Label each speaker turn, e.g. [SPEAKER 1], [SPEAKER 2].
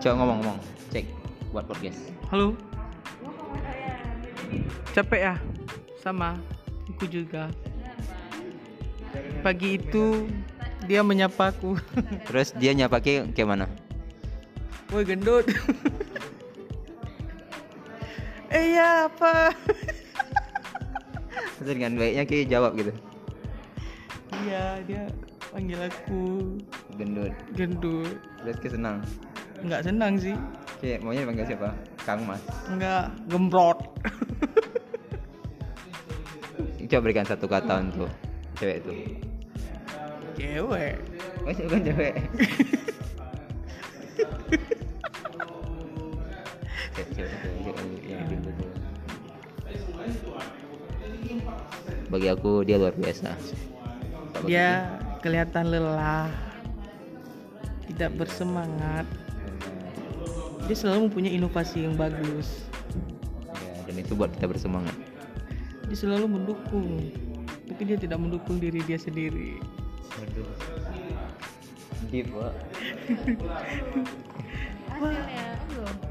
[SPEAKER 1] coba ngomong-ngomong cek buat podcast
[SPEAKER 2] Halo. Capek ya? Sama. Aku juga. Pagi itu dia menyapaku.
[SPEAKER 1] terus dia nyapa ke kayak mana
[SPEAKER 2] Woi gendut. eh ya apa?
[SPEAKER 1] terus dengan baiknya ke jawab gitu
[SPEAKER 2] Iya dia panggil aku
[SPEAKER 1] gendut
[SPEAKER 2] gendut.
[SPEAKER 1] terus ke senang
[SPEAKER 2] Nggak senang sih.
[SPEAKER 1] kayak maunya dipanggil siapa kang mas
[SPEAKER 2] Nggak gembrot.
[SPEAKER 1] coba berikan satu kata untuk cewek itu
[SPEAKER 2] Cewek.
[SPEAKER 1] oh bukan cewek Cek, cewek, cewek, cewek, yang gendut itu. bagi aku dia luar biasa Iya, Kalau bagi
[SPEAKER 2] Dia kelihatan lelah. Tidak bersemangat. Dia selalu mempunyai inovasi yang bagus.
[SPEAKER 1] Ya, dan itu buat kita bersemangat.
[SPEAKER 2] dia selalu mendukung tapi dia tidak mendukung diri dia sendiri
[SPEAKER 1] Waduh. Deep, Pak.
[SPEAKER 3] hasilnya enggak